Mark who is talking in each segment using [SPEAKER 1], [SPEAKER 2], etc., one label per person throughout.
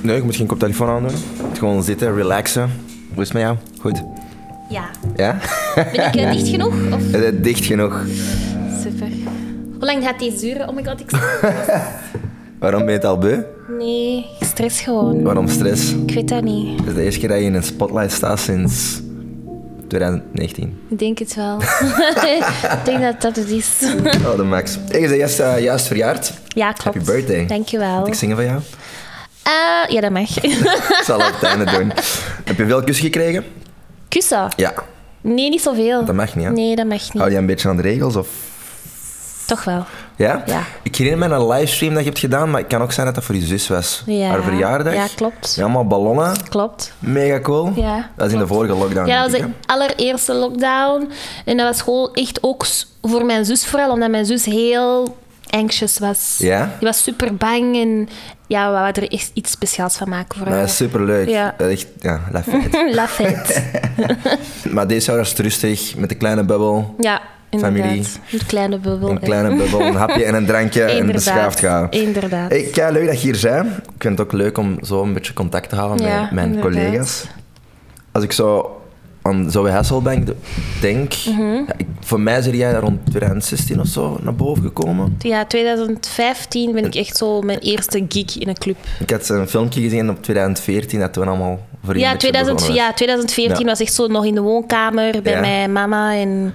[SPEAKER 1] Nee, je moet geen koptelefoon aandoen. Je moet Gewoon zitten, relaxen. Hoe is het met jou? Goed.
[SPEAKER 2] Ja.
[SPEAKER 1] Ja?
[SPEAKER 2] Ben ik eh, dicht genoeg? Of?
[SPEAKER 1] Eh, Dicht genoeg.
[SPEAKER 2] Super. Hoe lang gaat deze duren? Oh my god, ik...
[SPEAKER 1] Waarom ben je het al beu?
[SPEAKER 2] Nee, ik stress gewoon.
[SPEAKER 1] Waarom stress?
[SPEAKER 2] Ik weet dat niet.
[SPEAKER 1] Het is de eerste keer dat je in een spotlight staat sinds 2019.
[SPEAKER 2] Ik denk het wel. ik denk dat dat het is.
[SPEAKER 1] Oh, de max. Hey, je bent juist, eh, juist verjaard.
[SPEAKER 2] Ja, klopt.
[SPEAKER 1] Happy birthday.
[SPEAKER 2] Dankjewel.
[SPEAKER 1] Moet ik zingen van jou?
[SPEAKER 2] Eh, ja, dat mag.
[SPEAKER 1] Ik zal het op het einde doen. Heb je veel kus gekregen?
[SPEAKER 2] Kussen?
[SPEAKER 1] Ja.
[SPEAKER 2] Nee, niet zoveel.
[SPEAKER 1] Dat mag niet, hè?
[SPEAKER 2] Nee, dat mag niet.
[SPEAKER 1] Hou je een beetje aan de regels? Of...
[SPEAKER 2] Toch wel.
[SPEAKER 1] Ja?
[SPEAKER 2] Ja.
[SPEAKER 1] Ik herinner me een livestream dat je hebt gedaan, maar het kan ook zijn dat dat voor je zus was.
[SPEAKER 2] Ja.
[SPEAKER 1] Haar verjaardag.
[SPEAKER 2] Ja, klopt.
[SPEAKER 1] Ja, allemaal ballonnen.
[SPEAKER 2] Klopt.
[SPEAKER 1] Mega cool.
[SPEAKER 2] Ja,
[SPEAKER 1] Dat is in de
[SPEAKER 2] klopt.
[SPEAKER 1] vorige lockdown.
[SPEAKER 2] Ja, dat was
[SPEAKER 1] denk
[SPEAKER 2] de
[SPEAKER 1] ik,
[SPEAKER 2] allereerste lockdown. En dat was gewoon echt ook s- voor mijn zus vooral, omdat mijn zus heel anxious was.
[SPEAKER 1] Ja?
[SPEAKER 2] Die was super bang en ja, we wouden er echt iets speciaals van maken voor
[SPEAKER 1] hè? Maar
[SPEAKER 2] haar.
[SPEAKER 1] dat is Nou, superleuk. Eh,
[SPEAKER 2] Ja.
[SPEAKER 1] Dat is Echt, ja, lafheid.
[SPEAKER 2] Lafheid.
[SPEAKER 1] maar deze jaar was het rustig, met een kleine bubbel.
[SPEAKER 2] Ja, inderdaad.
[SPEAKER 1] Familie.
[SPEAKER 2] Een kleine bubbel.
[SPEAKER 1] Een kleine bubbel, een hapje en een drankje en beschaafd gaan.
[SPEAKER 2] Inderdaad.
[SPEAKER 1] Hey, kei leuk dat je hier bent. Ik vind het ook leuk om zo een beetje contact te houden
[SPEAKER 2] Ja,
[SPEAKER 1] met mijn
[SPEAKER 2] inderdaad.
[SPEAKER 1] collega's. Als ik zo aan Zoe Hasselbank de- denk,
[SPEAKER 2] Mhm.
[SPEAKER 1] ja, ik- voor mij zijn jij rond 2016 of zo naar boven gekomen.
[SPEAKER 2] Ja, 2015 ben ik echt zo mijn eerste geek in een club.
[SPEAKER 1] Ik had een filmpje gezien op 2014 dat toen allemaal voor
[SPEAKER 2] Ja, 2000, ja, 2014
[SPEAKER 1] Ja.
[SPEAKER 2] was echt zo nog in de woonkamer bij
[SPEAKER 1] Ja.
[SPEAKER 2] mijn mama en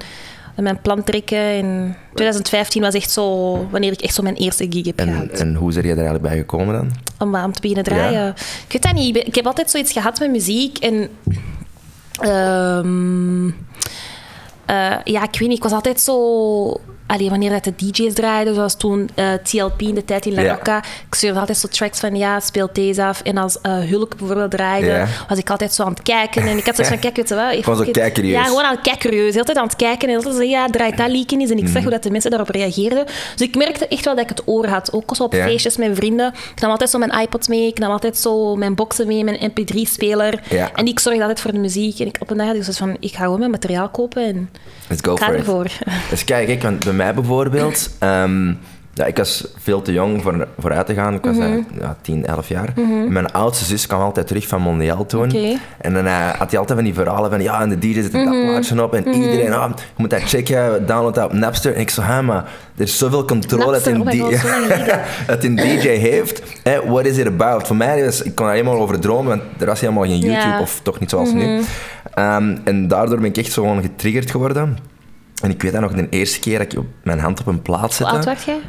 [SPEAKER 2] en mijn plan trekken. En 2015 was echt zo wanneer ik echt zo mijn eerste gig heb
[SPEAKER 1] En,
[SPEAKER 2] gehad.
[SPEAKER 1] en hoe zijn jij er eigenlijk bij gekomen dan?
[SPEAKER 2] Om, aan te beginnen draaien. Ik weet dat niet. Ik ben- Ik heb altijd zoiets gehad met muziek. En ehm, eh, ja, ik weet niet. Ik was altijd zo. Allee, wanneer dat de DJ's draaiden, zoals toen eh, TLP in de tijd in La
[SPEAKER 1] Ja.
[SPEAKER 2] Rocca. Ik stuurde altijd zo tracks van ja, speel deze af. En als eh, Hulk bijvoorbeeld draaide,
[SPEAKER 1] Ja.
[SPEAKER 2] was ik altijd zo aan het kijken. En ik had zoiets van, kijk, weet je wel... ik-
[SPEAKER 1] Gewoon zo
[SPEAKER 2] ik-
[SPEAKER 1] kijkerieus.
[SPEAKER 2] Ja, gewoon aan het kijkerieus. Heel tijd aan het kijken. En altijd zo, ja, draait dat lieken eens. En ik zag
[SPEAKER 1] Mhm.
[SPEAKER 2] hoe dat de mensen daarop reageerden. Dus ik merkte echt wel dat ik het oor had. Ook zo op
[SPEAKER 1] Ja.
[SPEAKER 2] feestjes met Dus vrienden. Ik nam altijd zo mijn iPod mee. Ik nam altijd zo mijn boxen mee, mijn mp3-speler.
[SPEAKER 1] Ja.
[SPEAKER 2] En ik zorgde altijd voor de muziek. En ik op een dag had ik zoiets van, ik ga gewoon mijn materiaal kopen. En
[SPEAKER 1] Let's go
[SPEAKER 2] ik ga
[SPEAKER 1] for it.
[SPEAKER 2] ervoor.
[SPEAKER 1] Dus kijk, ik, want bij mij bijvoorbeeld, ehm, ja, ik was veel te jong voor, voor uit te gaan. Ik
[SPEAKER 2] Mhm.
[SPEAKER 1] was eh, ja, 10, 11 jaar. Mijn oudste zus kwam altijd terug van Mondiaal toen.
[SPEAKER 2] Oké. Mhm.
[SPEAKER 1] En dan eh, had hij altijd van die verhalen van ja, en de DJ zet er dat plaatje op en iedereen, ah, je moet dat checken, download dat op Napster. En ik zo, hè, maar er is zoveel controle dat
[SPEAKER 2] Napster,
[SPEAKER 1] een,
[SPEAKER 2] oh my
[SPEAKER 1] D-
[SPEAKER 2] God, zo lang geleden.
[SPEAKER 1] dat een DJ heeft. Hè, what is it about? Voor mij, was, ik kon daar helemaal over dromen, want er was helemaal geen YouTube
[SPEAKER 2] Ja.
[SPEAKER 1] of toch niet zoals nu.
[SPEAKER 2] Mhm.
[SPEAKER 1] Ehm, en daardoor ben ik echt zo gewoon getriggerd geworden. En ik weet dat nog de eerste keer dat ik op mijn hand op een plaat
[SPEAKER 2] Hoe
[SPEAKER 1] zette.
[SPEAKER 2] oud werd jij?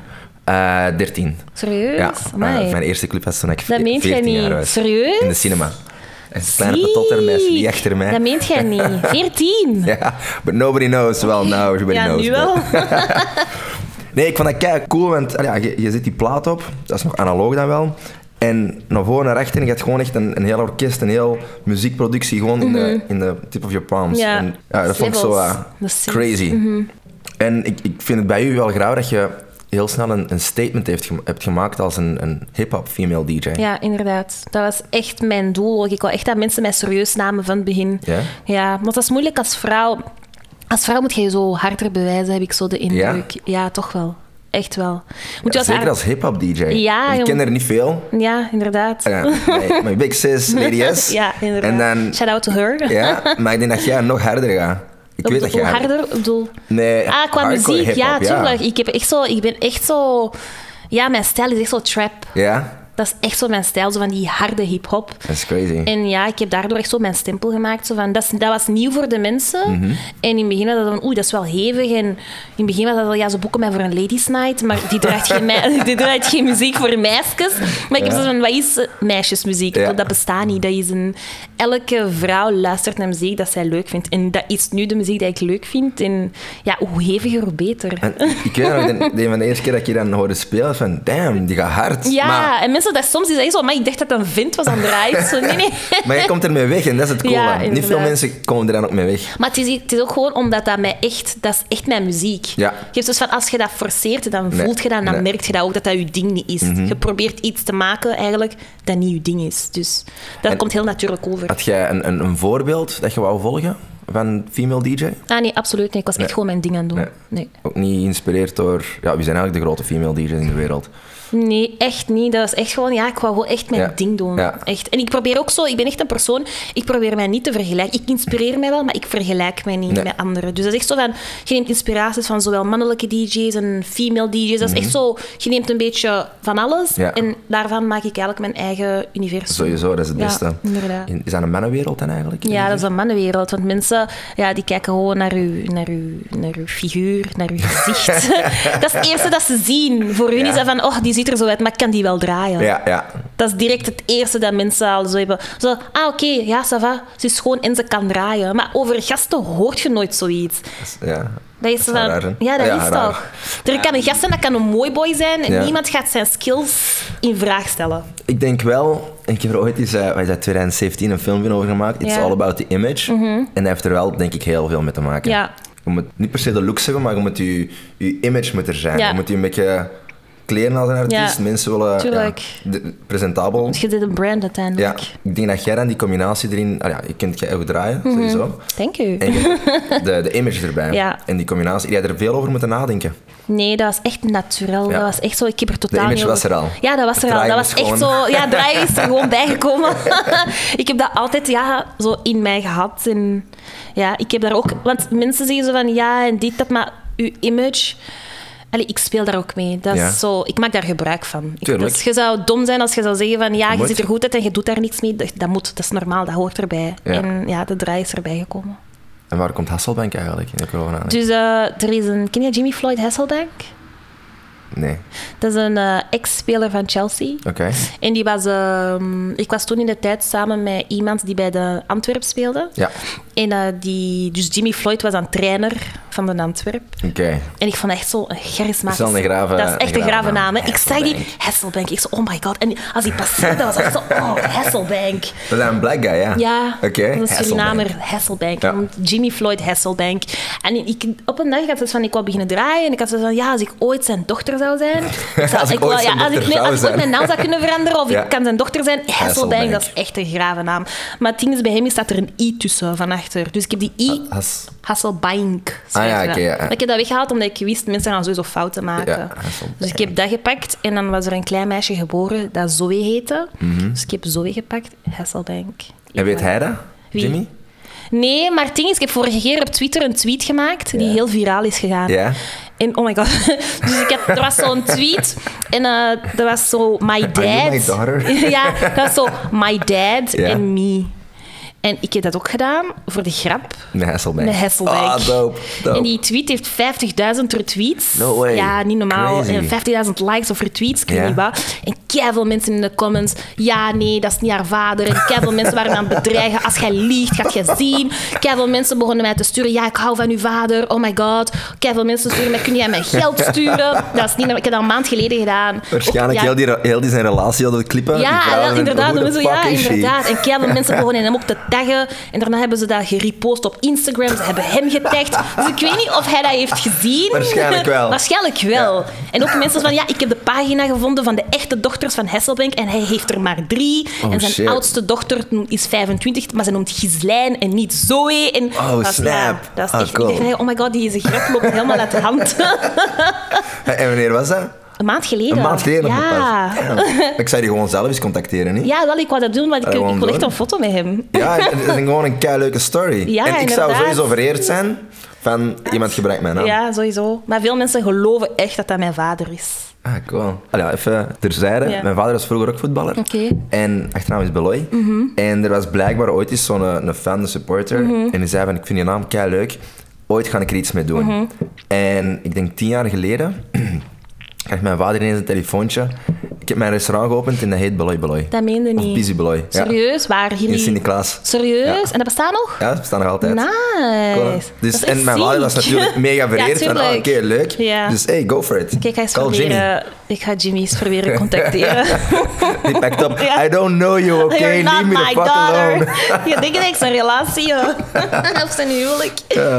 [SPEAKER 1] Eh, 13.
[SPEAKER 2] Serieus?
[SPEAKER 1] Ja,
[SPEAKER 2] Amai.
[SPEAKER 1] eh, mijn eerste club was toen ik
[SPEAKER 2] Dat
[SPEAKER 1] ve-
[SPEAKER 2] meent jij
[SPEAKER 1] 14
[SPEAKER 2] niet.
[SPEAKER 1] jaar was.
[SPEAKER 2] Serieus?
[SPEAKER 1] In de cinema. Een kleine
[SPEAKER 2] Ziek.
[SPEAKER 1] patottermeisje die achter mij.
[SPEAKER 2] Dat meent jij niet. 14?
[SPEAKER 1] Ja, but nobody knows. Well, now everybody
[SPEAKER 2] Ja,
[SPEAKER 1] knows.
[SPEAKER 2] nu
[SPEAKER 1] but-
[SPEAKER 2] wel.
[SPEAKER 1] Nee, ik vond dat kei cool, want ah ja, je, je zet die plaat op, dat is nog analoog dan wel. En naar voren naar achter, en je hebt gewoon echt een, een heel orkest, een heel muziekproductie gewoon in, de, in de tip of your palms.
[SPEAKER 2] Mhm. Ja.
[SPEAKER 1] En, ja dat vond ik zo
[SPEAKER 2] Levels.
[SPEAKER 1] ah,
[SPEAKER 2] Dat is Mhm. sick.
[SPEAKER 1] crazy. En ik, ik vind het bij u wel graag dat je heel snel een, een statement heeft, gem- hebt gemaakt als een, een hip-hop female DJ.
[SPEAKER 2] Ja, inderdaad. Dat was echt mijn doel. ook. Ik wou echt dat mensen mij serieus namen van het begin.
[SPEAKER 1] Ja?
[SPEAKER 2] Ja, want dat is moeilijk als vrouw. Als vrouw moet je je zo harder bewijzen, heb ik zo de indruk. Ja, toch wel. Echt wel. Moet je als
[SPEAKER 1] Zeker
[SPEAKER 2] haar-
[SPEAKER 1] als hip-hop DJ.
[SPEAKER 2] Ja,
[SPEAKER 1] ik ken
[SPEAKER 2] jong.
[SPEAKER 1] er niet veel.
[SPEAKER 2] Ja, inderdaad.
[SPEAKER 1] Ja, mijn- mijn big sis, Lady S.
[SPEAKER 2] Ja, inderdaad.
[SPEAKER 1] En dan,
[SPEAKER 2] Shout out to her.
[SPEAKER 1] ja, maar ik denk dat jij nog harder gaat. Ik weet dat jij
[SPEAKER 2] hoe harder, ik bedoel...
[SPEAKER 1] Nee,
[SPEAKER 2] Ah, qua
[SPEAKER 1] hardcore
[SPEAKER 2] muziek,
[SPEAKER 1] hiphop,
[SPEAKER 2] ja, tuurlijk. Ik, heb echt zo, ik ben echt zo... Ja, mijn stijl is echt zo trap.
[SPEAKER 1] Ja,
[SPEAKER 2] Dat is echt zo mijn stijl, zo van die harde hip-hop.
[SPEAKER 1] dat is crazy.
[SPEAKER 2] En ja, ik heb daardoor echt zo mijn stempel gemaakt. Zo van, dat, is- dat was nieuw voor de mensen.
[SPEAKER 1] Mhm.
[SPEAKER 2] En in het begin was dat dan, oei, dat is wel hevig. En in het begin was dat wel, ja, ze boeken mij voor een ladies night, maar die draait geen, mei- die draait geen muziek voor meisjes. Maar ik heb zo van, wat is eh, meisjesmuziek?
[SPEAKER 1] Ja.
[SPEAKER 2] Dat, dat bestaat niet. Dat is een, elke vrouw luistert naar muziek dat zij leuk vindt. En dat is nu de muziek die ik leuk vind. En ja, hoe heviger, hoe beter.
[SPEAKER 1] En ik weet nog, de, de, van de eerste keer dat ik je dan hoorde spelen, van damn, die gaat hard.
[SPEAKER 2] Ja,
[SPEAKER 1] Maar,
[SPEAKER 2] en mensen dat soms die zeggen zo, maar ik dacht dat een vent was aan het draaien. Ik zo, nee, nee.
[SPEAKER 1] maar jij komt ermee weg en dat is het coole.
[SPEAKER 2] Ja,
[SPEAKER 1] Niet veel
[SPEAKER 2] inderdaad.
[SPEAKER 1] mensen komen er dan ook mee weg.
[SPEAKER 2] Maar het is, het is ook gewoon omdat dat mij echt... Dat is echt mijn muziek.
[SPEAKER 1] Ja.
[SPEAKER 2] Je hebt dus van, als je dat forceert, dan
[SPEAKER 1] Nee,
[SPEAKER 2] voelt je dat en dan
[SPEAKER 1] nee. Mhm.
[SPEAKER 2] merk je dat ook, dat dat je ding niet is. Je probeert iets te maken eigenlijk dat niet je ding is. Dus dat komt heel natuurlijk over.
[SPEAKER 1] Had jij een, een, een voorbeeld dat je wou volgen van female DJ?
[SPEAKER 2] Ah nee, absoluut niet. Ik was echt gewoon mijn ding aan het doen.
[SPEAKER 1] Nee.
[SPEAKER 2] Nee.
[SPEAKER 1] Ook niet geïnspireerd door, ja, wie zijn eigenlijk de grote female DJ's in de wereld?
[SPEAKER 2] Nee, echt niet. Dat is echt gewoon, ja, ik wou gewoon echt mijn
[SPEAKER 1] Ja.
[SPEAKER 2] ding doen.
[SPEAKER 1] Ja.
[SPEAKER 2] Echt. En ik probeer ook zo, ik ben echt een persoon, ik probeer mij niet te vergelijken. Ik inspireer mij wel, maar ik vergelijk mij niet
[SPEAKER 1] Nee.
[SPEAKER 2] met anderen. Dus dat is echt zo van, je neemt inspiraties van zowel mannelijke DJ's en female DJ's. Dat is echt zo, je neemt een beetje van alles.
[SPEAKER 1] Mhm. Ja.
[SPEAKER 2] En daarvan maak ik eigenlijk mijn eigen universum.
[SPEAKER 1] Sowieso, dat is het
[SPEAKER 2] Ja,
[SPEAKER 1] beste.
[SPEAKER 2] inderdaad.
[SPEAKER 1] In- Is dat een mannenwereld dan eigenlijk?
[SPEAKER 2] Ja, dat is een mannenwereld. Want mensen ja, die kijken gewoon naar uw, naar, uw, naar uw figuur, naar uw gezicht. dat is het eerste dat ze zien. Voor hun
[SPEAKER 1] Ja.
[SPEAKER 2] is dat van, oh, die ziet er zo uit, maar ik kan die wel draaien.
[SPEAKER 1] Ja, ja.
[SPEAKER 2] Dat is direct het eerste dat mensen al zo hebben. Zo, ah, oké, ja, ça va. Ze is schoon en ze kan draaien. Maar over gasten hoort je nooit zoiets.
[SPEAKER 1] Dat is- ja.
[SPEAKER 2] Dat is,
[SPEAKER 1] wel
[SPEAKER 2] van-
[SPEAKER 1] raar, hè?
[SPEAKER 2] ja, dat
[SPEAKER 1] Ja,
[SPEAKER 2] is
[SPEAKER 1] raar.
[SPEAKER 2] toch. Er kan een gast zijn, dat kan een mooi boy zijn. En
[SPEAKER 1] Ja.
[SPEAKER 2] niemand gaat zijn skills in vraag stellen.
[SPEAKER 1] Ik denk wel, ik heb er ooit eens, eh, wat is dat, 2017 een filmpje over gemaakt. It's
[SPEAKER 2] Ja. Mhm.
[SPEAKER 1] all about the image. En dat heeft er wel, denk ik, heel veel mee te maken.
[SPEAKER 2] Ja.
[SPEAKER 1] Je moet niet per se de looks hebben, maar je moet je, je image moet er zijn.
[SPEAKER 2] Ja.
[SPEAKER 1] Je moet je een beetje kleren als een artiest.
[SPEAKER 2] Ja.
[SPEAKER 1] Mensen willen
[SPEAKER 2] Tuurlijk.
[SPEAKER 1] de- presentabel.
[SPEAKER 2] Want Dus je deed een brand
[SPEAKER 1] Ja,
[SPEAKER 2] uiteindelijk.
[SPEAKER 1] ik denk dat jij dan die combinatie erin... Ah ja, je kunt jij ook draaien,
[SPEAKER 2] Mhm.
[SPEAKER 1] sowieso.
[SPEAKER 2] Thank you.
[SPEAKER 1] En je hebt de, de image erbij.
[SPEAKER 2] Ja.
[SPEAKER 1] En die combinatie, je hebt er veel over moeten nadenken.
[SPEAKER 2] Nee, dat was echt naturel.
[SPEAKER 1] Ja.
[SPEAKER 2] Dat was echt zo. Ik heb er totaal
[SPEAKER 1] image
[SPEAKER 2] niet over-
[SPEAKER 1] was er al.
[SPEAKER 2] Ja, dat was er
[SPEAKER 1] Het
[SPEAKER 2] al. Dat
[SPEAKER 1] draaien
[SPEAKER 2] was
[SPEAKER 1] is
[SPEAKER 2] echt
[SPEAKER 1] gewoon-
[SPEAKER 2] zo. Ja, draaien is er gewoon bijgekomen. ik heb dat altijd ja, zo in mij gehad. En ja, ik heb daar ook. Want mensen zeggen zo van ja en dit, dat, maar uw image. Allee, ik speel daar ook mee. Dat
[SPEAKER 1] Ja.
[SPEAKER 2] is zo, ik maak daar gebruik van. Ik-
[SPEAKER 1] Tuurlijk.
[SPEAKER 2] Dus je zou dom zijn als je zou zeggen van ja, je
[SPEAKER 1] moet.
[SPEAKER 2] ziet er goed uit en je doet daar niks mee. Dat, dat moet, dat is normaal, dat hoort erbij.
[SPEAKER 1] Ja.
[SPEAKER 2] En ja, de draai is erbij gekomen.
[SPEAKER 1] En waar komt Hasselbank eigenlijk in de corona?
[SPEAKER 2] Dus eh, er is een, ken je Jimmy Floyd Hasselbank?
[SPEAKER 1] Nee.
[SPEAKER 2] Dat is een eh, ex-speler van Chelsea.
[SPEAKER 1] Oké.
[SPEAKER 2] En die was, ehm, ik was toen in de tijd samen met iemand die bij de Antwerp speelde.
[SPEAKER 1] Ja.
[SPEAKER 2] En eh, die, dus Jimmy Floyd was een trainer van de Antwerp.
[SPEAKER 1] Oké.
[SPEAKER 2] En ik vond dat echt zo'n charismatisch.
[SPEAKER 1] Dat is wel een grave-
[SPEAKER 2] Dat is echt
[SPEAKER 1] een
[SPEAKER 2] een
[SPEAKER 1] grave
[SPEAKER 2] grave
[SPEAKER 1] naam.
[SPEAKER 2] naam. hè. Ik zag die
[SPEAKER 1] Hasselbank.
[SPEAKER 2] Hasselbank. Ik zo, oh my god. En als die passeerde, was ik zo, oh, Hasselbank.
[SPEAKER 1] Dat is een black guy, ja?
[SPEAKER 2] Ja,
[SPEAKER 1] Oké.
[SPEAKER 2] dat is een
[SPEAKER 1] Hasselbank.
[SPEAKER 2] Surinamer, Hasselbank.
[SPEAKER 1] Ja.
[SPEAKER 2] En Jimmy Floyd Hasselbank. En ik, op een dag ik had ze van, ik wou beginnen draaien. En ik had ze van, ja, als ik ooit zijn dochter zou zijn. Ik
[SPEAKER 1] Als ik
[SPEAKER 2] wou-
[SPEAKER 1] ooit zijn
[SPEAKER 2] ja, als
[SPEAKER 1] dochter
[SPEAKER 2] ik, nee, als
[SPEAKER 1] zou
[SPEAKER 2] ik ooit
[SPEAKER 1] zijn.
[SPEAKER 2] mijn naam zou kunnen veranderen, of
[SPEAKER 1] Ja.
[SPEAKER 2] ik kan zijn dochter zijn, Hasselbank,
[SPEAKER 1] Hasselbank.
[SPEAKER 2] dat is echt een grave naam. Maar het ding is, bij hem staat er een i tussen, van achter. Dus ik heb die i...
[SPEAKER 1] Has-
[SPEAKER 2] Hasselbank.
[SPEAKER 1] Ah
[SPEAKER 2] schrijf
[SPEAKER 1] ja,
[SPEAKER 2] je dat.
[SPEAKER 1] oké, ja, ja.
[SPEAKER 2] Maar Ik heb dat weggehaald omdat ik wist, mensen gaan sowieso fouten maken.
[SPEAKER 1] Ja, Hasselbank.
[SPEAKER 2] dus ik heb dat gepakt en dan was er een klein meisje geboren dat Zoe heette.
[SPEAKER 1] Mhm.
[SPEAKER 2] Dus ik heb Zoe gepakt, Hasselbank.
[SPEAKER 1] En weet hij dat?
[SPEAKER 2] Wie?
[SPEAKER 1] Jimmy?
[SPEAKER 2] Nee, maar het ding is, ik heb vorige keer op Twitter een tweet gemaakt die
[SPEAKER 1] Ja.
[SPEAKER 2] heel viraal is gegaan.
[SPEAKER 1] Ja.
[SPEAKER 2] En oh my god. Dus ik heb, er was zo'n tweet en eh er was zo my dad.
[SPEAKER 1] you my daughter?
[SPEAKER 2] ja, dat was zo my dad
[SPEAKER 1] Ja.
[SPEAKER 2] and me. En ik heb dat ook gedaan voor de grap.
[SPEAKER 1] Nee, Hasselbank.
[SPEAKER 2] Met Hasselbank.
[SPEAKER 1] Ah, dope. dope.
[SPEAKER 2] En die tweet heeft 50.000 retweets.
[SPEAKER 1] No way.
[SPEAKER 2] Ja, niet normaal.
[SPEAKER 1] Crazy.
[SPEAKER 2] En 50.000 likes of retweets, ik weet
[SPEAKER 1] Ja.
[SPEAKER 2] niet wat. En keiveel mensen in de comments. Ja, nee, dat is niet haar vader. En keiveel mensen waren aan het bedreigen. Als jij liegt, gaat jij zien. Keiveel mensen begonnen mij te sturen. Ja, ik hou van uw vader. Oh my god. Keiveel mensen sturen mij. Kun jij mij geld sturen? Dat is niet... normaal. Ik heb dat een maand geleden gedaan.
[SPEAKER 1] Waarschijnlijk
[SPEAKER 2] Ook- ja,
[SPEAKER 1] heel, die, heel die zijn relatie hadden klippen. Die
[SPEAKER 2] ja,
[SPEAKER 1] vrouwen
[SPEAKER 2] wel,
[SPEAKER 1] zijn,
[SPEAKER 2] inderdaad.
[SPEAKER 1] "Who
[SPEAKER 2] Dan
[SPEAKER 1] the
[SPEAKER 2] zo, ja,
[SPEAKER 1] fuck is she?"
[SPEAKER 2] inderdaad. En keihard mensen begonnen hem ook te taggen. En daarna hebben ze dat gerepost op Instagram. Ze hebben hem getagd. Dus ik weet niet of hij dat heeft gezien.
[SPEAKER 1] Waarschijnlijk wel.
[SPEAKER 2] Waarschijnlijk wel. En ook mensen van, ja, ik heb de pagina gevonden van de echte dochters van Hesselbank. En hij heeft er maar drie.
[SPEAKER 1] Oh,
[SPEAKER 2] en zijn
[SPEAKER 1] shit.
[SPEAKER 2] oudste dochter is 25, maar ze noemt Gislijn en niet Zoe. En
[SPEAKER 1] Oh,
[SPEAKER 2] dat is- ja,
[SPEAKER 1] snap.
[SPEAKER 2] dat is
[SPEAKER 1] Oh,
[SPEAKER 2] echt... ik
[SPEAKER 1] cool.
[SPEAKER 2] dacht van, oh my god, die grap loopt helemaal uit de hand.
[SPEAKER 1] En wanneer was dat?
[SPEAKER 2] een maand geleden.
[SPEAKER 1] Een maand geleden nog
[SPEAKER 2] Ja.
[SPEAKER 1] pas. Damn. Ik zou die gewoon zelf eens contacteren, niet?
[SPEAKER 2] Ja, wel, ik wou dat doen, want ik,
[SPEAKER 1] Ah,
[SPEAKER 2] ik
[SPEAKER 1] gewoon
[SPEAKER 2] wil echt
[SPEAKER 1] doen.
[SPEAKER 2] een foto met hem.
[SPEAKER 1] Ja, het is gewoon een kei leuke story.
[SPEAKER 2] Ja,
[SPEAKER 1] en ik zou
[SPEAKER 2] inderdaad.
[SPEAKER 1] sowieso vereerd zijn van iemand gebruikt mijn naam.
[SPEAKER 2] Ja, sowieso. Maar veel mensen geloven echt dat dat mijn vader is.
[SPEAKER 1] Ah, cool. Allee, even terzijde.
[SPEAKER 2] Ja.
[SPEAKER 1] Mijn vader was vroeger ook voetballer.
[SPEAKER 2] Oké. Mhm.
[SPEAKER 1] En achternaam is Beloy. En er was blijkbaar ooit eens zo'n eh, een fan, een supporter.
[SPEAKER 2] Mhm.
[SPEAKER 1] En die zei van, ik vind je naam kei leuk. Ooit ga ik er iets mee doen.
[SPEAKER 2] Mhm.
[SPEAKER 1] En ik denk tien jaar geleden kreeg mijn vader ineens een telefoontje. Ik heb mijn restaurant geopend en dat heet Beloy Beloy.
[SPEAKER 2] Dat meende
[SPEAKER 1] Of
[SPEAKER 2] niet.
[SPEAKER 1] Busy Beloy. Ja.
[SPEAKER 2] Serieus? Waar hier
[SPEAKER 1] In
[SPEAKER 2] niet?
[SPEAKER 1] Sint-Niklaas.
[SPEAKER 2] Serieus? En dat bestaat nog?
[SPEAKER 1] Ja, ze bestaan nog altijd.
[SPEAKER 2] Nice.
[SPEAKER 1] Cool, hè?
[SPEAKER 2] Dat
[SPEAKER 1] Dus,
[SPEAKER 2] is
[SPEAKER 1] en
[SPEAKER 2] echt
[SPEAKER 1] mijn vader
[SPEAKER 2] ziek.
[SPEAKER 1] was natuurlijk mega vereerd.
[SPEAKER 2] ja,
[SPEAKER 1] van, oh, oké,
[SPEAKER 2] tuurlijk.
[SPEAKER 1] leuk.
[SPEAKER 2] Ja.
[SPEAKER 1] Dus hey, go for it.
[SPEAKER 2] Kijk, ik ga eens
[SPEAKER 1] Call
[SPEAKER 2] proberen.
[SPEAKER 1] Jimmy.
[SPEAKER 2] Ik ga Jimmy eens proberen contacteren.
[SPEAKER 1] Die pakt op.
[SPEAKER 2] Ja.
[SPEAKER 1] I don't know you, oké?
[SPEAKER 2] You're
[SPEAKER 1] Leave
[SPEAKER 2] not
[SPEAKER 1] me the
[SPEAKER 2] my
[SPEAKER 1] fuck
[SPEAKER 2] daughter.
[SPEAKER 1] alone.
[SPEAKER 2] Je denkt dat ik zijn relatie heb. of zijn huwelijk.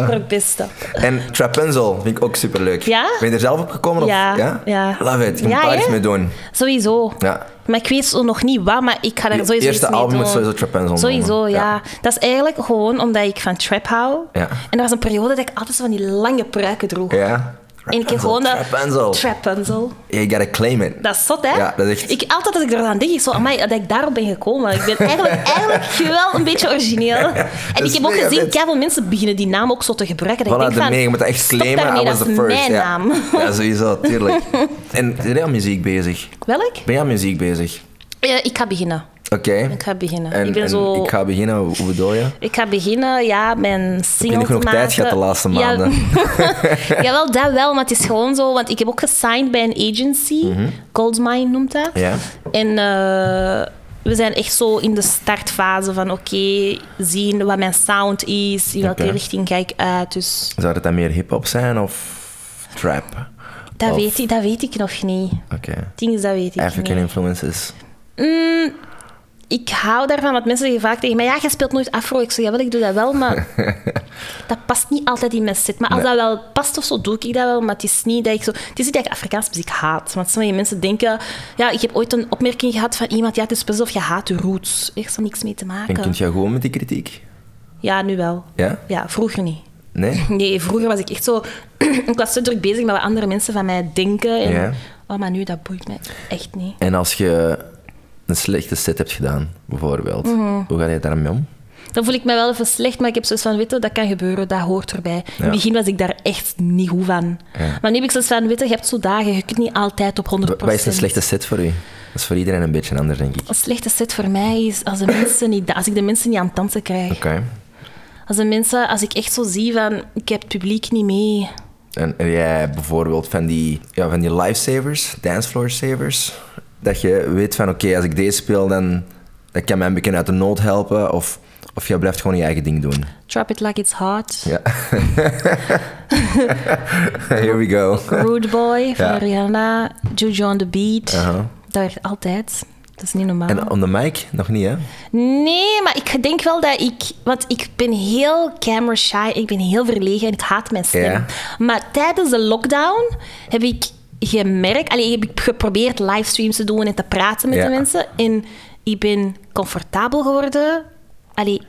[SPEAKER 2] Voor het beste.
[SPEAKER 1] En Trapunzel vind ik ook superleuk.
[SPEAKER 2] Ja?
[SPEAKER 1] Ben je er zelf op gekomen? Of,
[SPEAKER 2] Ja, ja.
[SPEAKER 1] Love it. Je
[SPEAKER 2] Ja,
[SPEAKER 1] moet daar iets
[SPEAKER 2] hè?
[SPEAKER 1] mee doen.
[SPEAKER 2] Sowieso.
[SPEAKER 1] Ja.
[SPEAKER 2] Maar ik weet zo nog niet wat, maar ik ga
[SPEAKER 1] Je
[SPEAKER 2] daar sowieso
[SPEAKER 1] eerste
[SPEAKER 2] iets mee
[SPEAKER 1] album moet
[SPEAKER 2] doen.
[SPEAKER 1] sowieso trap en zo
[SPEAKER 2] Sowieso,
[SPEAKER 1] noemen.
[SPEAKER 2] ja.
[SPEAKER 1] Ja.
[SPEAKER 2] Dat is eigenlijk gewoon omdat ik van trap hou.
[SPEAKER 1] Ja.
[SPEAKER 2] En er was een periode dat ik altijd zo van die lange pruiken droeg.
[SPEAKER 1] Ja?
[SPEAKER 2] En ik heb gewoon dat...
[SPEAKER 1] Trapenzel.
[SPEAKER 2] Trapenzel.
[SPEAKER 1] You gotta claim it.
[SPEAKER 2] Dat is zot, hè?
[SPEAKER 1] Ja, dat is echt-
[SPEAKER 2] ik, altijd als ik eraan denk, ik zo, amai, dat ik daarop ben gekomen. Ik ben eigenlijk, eigenlijk wel een beetje origineel. En
[SPEAKER 1] is
[SPEAKER 2] ik heb ook
[SPEAKER 1] mega
[SPEAKER 2] gezien,
[SPEAKER 1] vet.
[SPEAKER 2] veel mensen beginnen die naam ook zo te gebruiken. Dat
[SPEAKER 1] Voilà,
[SPEAKER 2] ik denk van,
[SPEAKER 1] daarmee, je moet dat echt
[SPEAKER 2] stop
[SPEAKER 1] claimen.
[SPEAKER 2] daarmee,
[SPEAKER 1] I was
[SPEAKER 2] dat
[SPEAKER 1] the
[SPEAKER 2] is
[SPEAKER 1] first.
[SPEAKER 2] mijn
[SPEAKER 1] ja.
[SPEAKER 2] naam.
[SPEAKER 1] ja, sowieso, tuurlijk. En ben jij aan muziek bezig?
[SPEAKER 2] Welk?
[SPEAKER 1] Ben jij aan muziek bezig?
[SPEAKER 2] Eh, ik ga beginnen.
[SPEAKER 1] Oké.
[SPEAKER 2] Ik ga beginnen.
[SPEAKER 1] En,
[SPEAKER 2] ik ben
[SPEAKER 1] en
[SPEAKER 2] zo...
[SPEAKER 1] ik ga beginnen, hoe hoe bedoel je?
[SPEAKER 2] Ik ga beginnen, ja, mijn single
[SPEAKER 1] nog
[SPEAKER 2] te
[SPEAKER 1] genoeg
[SPEAKER 2] maken.
[SPEAKER 1] tijd gehad de laatste maanden?
[SPEAKER 2] Ja, jawel, dat wel, maar het is gewoon zo. Want ik heb ook gesigned bij een agency, Goldmine noemt dat.
[SPEAKER 1] Mhm. Ja.
[SPEAKER 2] En eh, we zijn echt zo in de startfase van oké, zien wat mijn sound is, in welke
[SPEAKER 1] Oké.
[SPEAKER 2] richting ga ik uit. Dus
[SPEAKER 1] Zou dat dan meer hip-hop zijn of trap?
[SPEAKER 2] dat,
[SPEAKER 1] Of-
[SPEAKER 2] weet ik, dat weet ik nog niet.
[SPEAKER 1] Oké.
[SPEAKER 2] Het ding is, dat weet ik
[SPEAKER 1] African
[SPEAKER 2] niet.
[SPEAKER 1] influences.
[SPEAKER 2] Ik hou daarvan, want mensen zeggen vaak tegen mij, ja, jij speelt nooit afro. Ik zeg, jawel, ik doe dat wel, maar dat past niet altijd in mijn set. Maar als dat wel past of zo, doe ik dat wel. Maar het is niet dat ik zo... Het is niet dat ik Afrikaanse muziek haat. Want sommige mensen denken... Ja, ik heb ooit een opmerking gehad van iemand, ja, het is best of je haat je roots. Er is er niks mee te
[SPEAKER 1] En
[SPEAKER 2] maken.
[SPEAKER 1] kunt je gewoon met die kritiek?
[SPEAKER 2] Ja, nu wel.
[SPEAKER 1] Ja?
[SPEAKER 2] Ja, vroeger niet.
[SPEAKER 1] Nee?
[SPEAKER 2] Nee, vroeger was ik echt zo... ik was zo druk bezig met wat andere mensen van mij denken. En,
[SPEAKER 1] Ja.
[SPEAKER 2] Oh, maar nu, dat boeit mij echt niet.
[SPEAKER 1] En als je een slechte set hebt gedaan, bijvoorbeeld, hoe ga je daarmee om?
[SPEAKER 2] Dan voel ik me wel even slecht, maar ik heb zoiets van, weet je, dat kan gebeuren, dat hoort erbij. In
[SPEAKER 1] Ja.
[SPEAKER 2] het begin was ik daar echt niet goed van. Maar nu heb ik zoiets van, weet je, je hebt zo dagen, je kunt niet altijd op 100%.
[SPEAKER 1] Wa- Wat is een slechte set voor u? Dat is voor iedereen een beetje anders, denk ik. Oké.
[SPEAKER 2] Een slechte set voor mij is als, de mensen niet, als ik de mensen niet aan het dansen krijg. Als, de mensen, als ik echt zo zie van, ik heb het publiek niet mee.
[SPEAKER 1] En, en jij bijvoorbeeld van die, ja, van die lifesavers, dancefloor savers, dat je weet van oké, als ik deze speel, dan dat kan mij een beetje uit de nood helpen. Of, of jij blijft gewoon je eigen ding doen.
[SPEAKER 2] Drop it like it's hot.
[SPEAKER 1] Ja. Here we go.
[SPEAKER 2] Rude Boy van
[SPEAKER 1] Ja.
[SPEAKER 2] Rihanna. Juju on the Beat.
[SPEAKER 1] Aha.
[SPEAKER 2] Dat werkt altijd. Dat is niet normaal.
[SPEAKER 1] En on the mic? Nog niet, hè?
[SPEAKER 2] Nee, maar ik denk wel dat ik... Want ik ben heel camera shy. Ik ben heel verlegen en ik haat mijn stem.
[SPEAKER 1] Ja.
[SPEAKER 2] Maar tijdens de lockdown heb ik gemerkt... Allee, heb ik geprobeerd livestreams te doen en te praten met
[SPEAKER 1] Ja.
[SPEAKER 2] de mensen. En ik ben comfortabel geworden. Allee,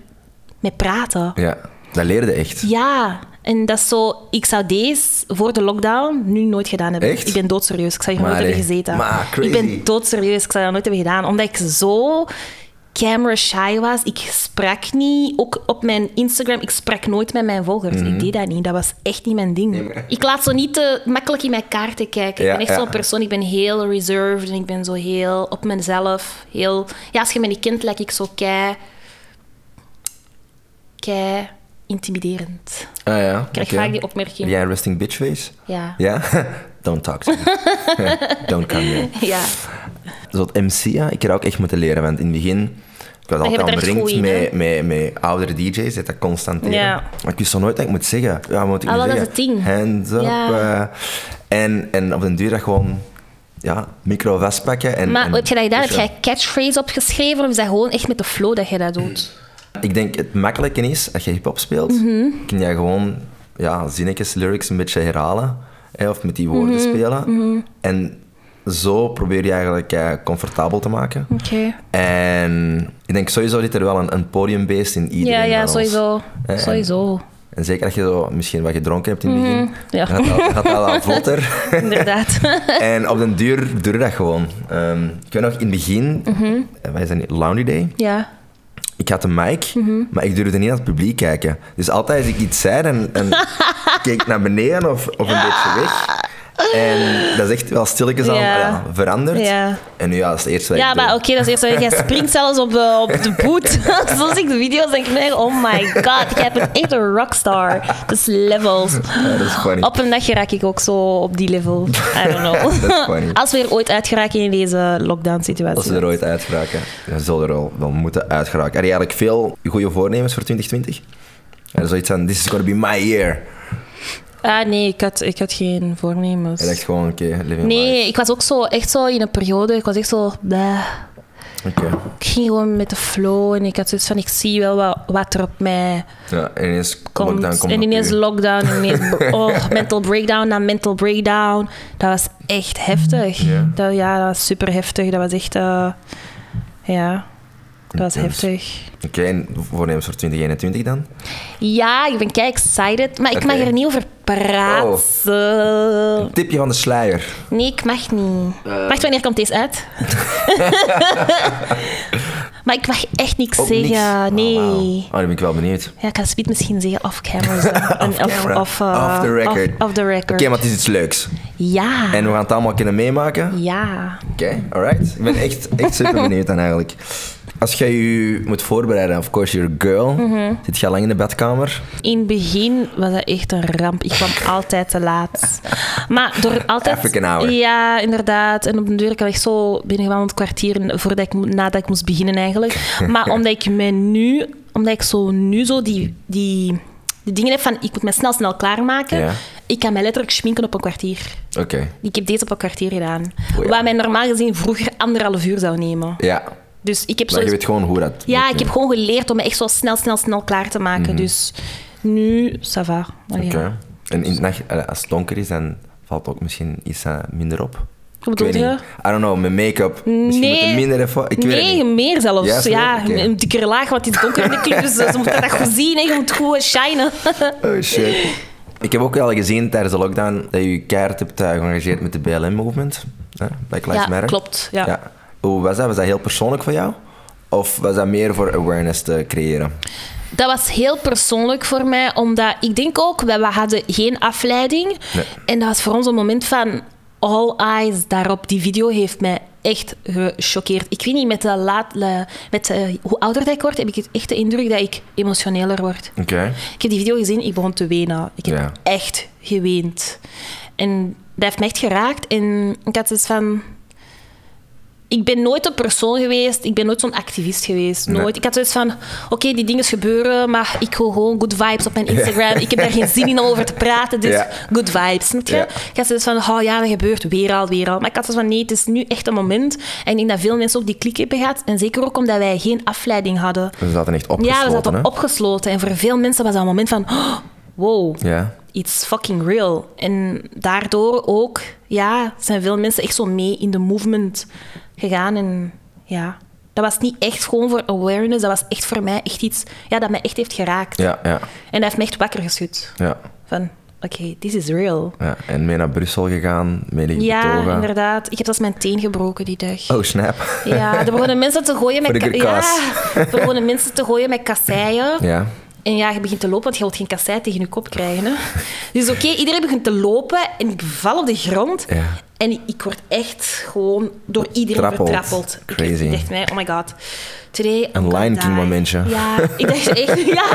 [SPEAKER 2] met praten.
[SPEAKER 1] Ja. Dat leerde echt.
[SPEAKER 2] Ja, en dat is zo... Ik zou deze voor de lockdown nu nooit gedaan hebben.
[SPEAKER 1] Echt?
[SPEAKER 2] Ik ben doodserieus. Ik zou hier nooit
[SPEAKER 1] Maar,
[SPEAKER 2] hebben
[SPEAKER 1] eh,
[SPEAKER 2] gezeten.
[SPEAKER 1] maar, crazy.
[SPEAKER 2] Ik ben doodserieus. Ik zou dat nooit hebben gedaan. Omdat ik zo camera shy was. Ik sprak niet. Ook op mijn Instagram. Ik sprak nooit met mijn volgers.
[SPEAKER 1] Mhm.
[SPEAKER 2] Ik deed dat niet. Dat was echt niet mijn ding. Ik laat zo niet te makkelijk in mijn kaarten kijken.
[SPEAKER 1] Ja,
[SPEAKER 2] ik ben echt
[SPEAKER 1] ja.
[SPEAKER 2] zo'n persoon. Ik ben heel reserved. En ik ben zo heel op mezelf. Heel... Ja, als je me niet kent, lijk ik zo kei... Kei... Intimiderend.
[SPEAKER 1] Ah ja. Ik
[SPEAKER 2] krijg vaak die opmerking.
[SPEAKER 1] Jij een resting bitch face?
[SPEAKER 2] Ja.
[SPEAKER 1] Ja? Don't talk to me. Don't come here. Dus
[SPEAKER 2] Ja.
[SPEAKER 1] Zo het MC'en, ik heb dat ook echt moeten leren. Want in het begin, ik was
[SPEAKER 2] je
[SPEAKER 1] altijd
[SPEAKER 2] bent er
[SPEAKER 1] omringd
[SPEAKER 2] echt goed in, hè?
[SPEAKER 1] met, met, met oudere DJ's, dat dat constant deden.
[SPEAKER 2] Ja.
[SPEAKER 1] Maar ik wist zo nooit dat ik moet zeggen. Ja, wat moet ik
[SPEAKER 2] Ah,
[SPEAKER 1] nu
[SPEAKER 2] wel, dat
[SPEAKER 1] zeggen?
[SPEAKER 2] is het ding.
[SPEAKER 1] Hands up.
[SPEAKER 2] Ja.
[SPEAKER 1] eh. en, en op den duur dat gewoon, ja, micro vastpakken. En, dus
[SPEAKER 2] Maar
[SPEAKER 1] en
[SPEAKER 2] heb je dat gedaan? Heb
[SPEAKER 1] pushen.
[SPEAKER 2] jij catchphrase opgeschreven? Of is dat gewoon echt met de flow dat je dat doet?
[SPEAKER 1] Ik denk het makkelijke is, als je hip-hop speelt,
[SPEAKER 2] Mhm.
[SPEAKER 1] kun jij gewoon ja, zinnetjes, lyrics een beetje herhalen. Hè, of met die woorden
[SPEAKER 2] Mhm.
[SPEAKER 1] spelen. En zo probeer je eigenlijk eh, comfortabel te maken.
[SPEAKER 2] Oké.
[SPEAKER 1] En ik denk sowieso zit er wel een, een podiumbeest in iedereen.
[SPEAKER 2] Ja,
[SPEAKER 1] van
[SPEAKER 2] ja,
[SPEAKER 1] ons.
[SPEAKER 2] sowieso.
[SPEAKER 1] En-
[SPEAKER 2] Sowieso. Mhm.
[SPEAKER 1] En zeker als je zo misschien wat gedronken hebt in het begin,
[SPEAKER 2] ja.
[SPEAKER 1] gaat dat- gaat dat wel vlotter.
[SPEAKER 2] Inderdaad.
[SPEAKER 1] en op den duur doe je dat gewoon. Ehm ik weet nog, in het begin,
[SPEAKER 2] Mhm.
[SPEAKER 1] eh, wij zijn Laundry Day,
[SPEAKER 2] ja.
[SPEAKER 1] ik had een mic,
[SPEAKER 2] Mhm.
[SPEAKER 1] maar ik durfde niet naar het publiek kijken. Dus altijd als ik iets zei, dan, dan keek ik naar beneden of, of een beetje weg. En dat is echt wel stilletjes al
[SPEAKER 2] Ja.
[SPEAKER 1] ja, veranderd.
[SPEAKER 2] Ja.
[SPEAKER 1] En nu ja, dat is het eerste wat
[SPEAKER 2] Ja,
[SPEAKER 1] ik
[SPEAKER 2] maar
[SPEAKER 1] doe.
[SPEAKER 2] oké, dat is eerst zo. Jij springt zelfs op, eh, op de boot. Zoals ik de video's denk ik meer, oh my god, jij bent echt een rockstar. Dat is levels.
[SPEAKER 1] Ja, dat is funny.
[SPEAKER 2] Op een dag raak ik ook zo op die level. I don't know.
[SPEAKER 1] Dat is funny.
[SPEAKER 2] Als we er ooit uit geraken in deze
[SPEAKER 1] Als
[SPEAKER 2] lockdown-situatie.
[SPEAKER 1] ze er ooit uit geraken, dan zullen er wel, wel moeten uit geraken. Heb je eigenlijk veel goede voornemens voor 2020? Er is zoiets van, this is gonna be my year.
[SPEAKER 2] Ah nee, ik had, ik had geen voornemens.
[SPEAKER 1] Je dacht gewoon, oké, living life.
[SPEAKER 2] Nee, ik was ook zo, echt zo in een periode. Ik was echt zo. bleh.
[SPEAKER 1] Oké.
[SPEAKER 2] Ik ging gewoon met de flow en ik had zoiets van: ik zie wel wat, wat er op mij
[SPEAKER 1] Ja, en ineens
[SPEAKER 2] komt.
[SPEAKER 1] lockdown komt
[SPEAKER 2] en
[SPEAKER 1] op
[SPEAKER 2] ineens
[SPEAKER 1] u.
[SPEAKER 2] lockdown, en ineens oh, mental breakdown na mental breakdown. Dat was echt heftig.
[SPEAKER 1] Ja.
[SPEAKER 2] Dat, ja, dat was super heftig. Dat was echt. eh, ja, dat was
[SPEAKER 1] Intens.
[SPEAKER 2] heftig.
[SPEAKER 1] Oké, en voornemens voor 2021 dan?
[SPEAKER 2] Ja, ik ben kei excited. Maar ik
[SPEAKER 1] Oké. Oh.
[SPEAKER 2] mag er niet over paraat. Eh,
[SPEAKER 1] Tipje van de slijer.
[SPEAKER 2] Nee, ik mag niet. Wacht, wanneer komt deze uit? maar ik mag echt niks
[SPEAKER 1] Ook niks?
[SPEAKER 2] zeggen.
[SPEAKER 1] Oh,
[SPEAKER 2] Nee.
[SPEAKER 1] wauw. Oh, dan ben ik wel benieuwd.
[SPEAKER 2] Ja, ik kan Speed misschien zeggen off-camera. zijn. En of,
[SPEAKER 1] camera.
[SPEAKER 2] of, eh,
[SPEAKER 1] Off the record.
[SPEAKER 2] Off, off the record.
[SPEAKER 1] Oké, maar het is iets leuks.
[SPEAKER 2] Ja.
[SPEAKER 1] En we gaan het allemaal kunnen meemaken.
[SPEAKER 2] Ja.
[SPEAKER 1] Oké, alright. Ik ben echt, echt super benieuwd dan eigenlijk. Als jij je moet voorbereiden, of course you're a girl,
[SPEAKER 2] Mhm.
[SPEAKER 1] zit je al lang in de bedkamer.
[SPEAKER 2] In het begin was dat echt een ramp. Ik kwam altijd te laat. Maar door altijd...
[SPEAKER 1] African hour.
[SPEAKER 2] Ja, inderdaad. En op de deur kwam ik zo binnengewandeld kwartier voordat ik, mo- nadat ik moest beginnen eigenlijk. Maar omdat ik me nu... Omdat ik zo nu zo die, die, die dingen heb van... Ik moet me snel, snel klaarmaken.
[SPEAKER 1] Ja.
[SPEAKER 2] Ik kan mij letterlijk schminken op een kwartier.
[SPEAKER 1] Oké,
[SPEAKER 2] Ik heb deze op een kwartier gedaan.
[SPEAKER 1] Oei.
[SPEAKER 2] Wat mij normaal gezien vroeger anderhalf uur zou nemen.
[SPEAKER 1] Oh ja.
[SPEAKER 2] Dus ik heb zo...
[SPEAKER 1] Maar je weet gewoon hoe dat
[SPEAKER 2] Ja,
[SPEAKER 1] moet,
[SPEAKER 2] ik heb
[SPEAKER 1] hè?
[SPEAKER 2] gewoon geleerd om me echt zo snel, snel, snel klaar te maken. Dus nu, ça va. Allee,
[SPEAKER 1] Mhm. Oké.
[SPEAKER 2] ja.
[SPEAKER 1] En in de nacht, eh, als het donker is, dan valt ook misschien iets eh, minder op.
[SPEAKER 2] Wat bedoel
[SPEAKER 1] Ik weet
[SPEAKER 2] je?
[SPEAKER 1] niet. I don't know, met make-up. Misschien
[SPEAKER 2] Nee.
[SPEAKER 1] moet er minder even... Ik weet het
[SPEAKER 2] nee,
[SPEAKER 1] niet.
[SPEAKER 2] meer zelfs.
[SPEAKER 1] Ja,
[SPEAKER 2] Ja,
[SPEAKER 1] veel? Oké.
[SPEAKER 2] een dikkere laag, want het is donker in de club, dus ze moeten dat goed zien. hè. Je moet goed shinen.
[SPEAKER 1] Oh shit. Ik heb ook al gezien tijdens de lockdown dat je je keihard hebt eh, geëngageerd met de BLM-movement. Black Lives
[SPEAKER 2] Ja,
[SPEAKER 1] Matter.
[SPEAKER 2] klopt, ja.
[SPEAKER 1] Hoe was dat? Was dat heel persoonlijk voor jou? Of was dat meer voor awareness te creëren?
[SPEAKER 2] Dat was heel persoonlijk voor mij, omdat ik denk ook, we, we hadden geen afleiding.
[SPEAKER 1] Nee.
[SPEAKER 2] En dat was voor ons een moment van all eyes daarop. Die video heeft mij echt gechoqueerd. Ik weet niet, met, de laat, de- met eh, hoe ouder dat ik word, heb ik het echt de indruk dat ik emotioneler word.
[SPEAKER 1] Oké.
[SPEAKER 2] Ik heb die video gezien, ik begon te wenen. Ik heb
[SPEAKER 1] Ja.
[SPEAKER 2] echt geweend. En dat heeft me echt geraakt. En ik had dus van... Ik ben nooit een persoon geweest, ik ben nooit zo'n activist geweest.
[SPEAKER 1] Nee.
[SPEAKER 2] Nooit. Ik had zoiets van, oké, die dingen gebeuren, maar ik wil gewoon good vibes op mijn Instagram. Ik heb daar geen zin in om over te praten, dus
[SPEAKER 1] Ja.
[SPEAKER 2] good vibes, snap je?
[SPEAKER 1] Ja.
[SPEAKER 2] Ik had zoiets van, oh ja, dat gebeurt weer al, weer al. Maar ik had zoiets van, nee, het is nu echt een moment. En ik denk dat veel mensen ook die klik hebben gehad. En zeker ook omdat wij geen afleiding hadden.
[SPEAKER 1] We zaten echt opgesloten,
[SPEAKER 2] Ja, we zaten
[SPEAKER 1] hè?
[SPEAKER 2] opgesloten. En voor veel mensen was dat een moment van... "Oh, wow,
[SPEAKER 1] Ja.
[SPEAKER 2] it's fucking real. En daardoor ook ja, zijn veel mensen echt zo mee in de movement gegaan. En ja, dat was niet echt gewoon voor awareness. Dat was echt voor mij echt iets ja, dat mij echt heeft geraakt.
[SPEAKER 1] Ja, ja,
[SPEAKER 2] En dat heeft me echt wakker geschud.
[SPEAKER 1] ja.
[SPEAKER 2] Van, oké, this is real.
[SPEAKER 1] ja. En mee naar Brussel gegaan, mee liggen
[SPEAKER 2] Ja,
[SPEAKER 1] betogen.
[SPEAKER 2] inderdaad. Ik heb zelfs mijn teen gebroken die dag.
[SPEAKER 1] Oh, snap.
[SPEAKER 2] Ja, er begonnen mensen te gooien met...
[SPEAKER 1] Voor de
[SPEAKER 2] ka-
[SPEAKER 1] kaas.
[SPEAKER 2] Ja, er begonnen mensen te gooien met kasseien.
[SPEAKER 1] Ja.
[SPEAKER 2] En ja, je begint te lopen, want je wilt geen kassei tegen je kop krijgen. Hè? Dus oké, iedereen begint te lopen en ik val op de grond.
[SPEAKER 1] Ja.
[SPEAKER 2] En ik word echt gewoon door iedereen
[SPEAKER 1] Trappeld.
[SPEAKER 2] vertrappeld. Ik-
[SPEAKER 1] Crazy.
[SPEAKER 2] Ik dacht, nee, oh my god. Today I'm
[SPEAKER 1] Een
[SPEAKER 2] gonna
[SPEAKER 1] Lion King
[SPEAKER 2] die.
[SPEAKER 1] momentje.
[SPEAKER 2] Ja, ik dacht echt, ja.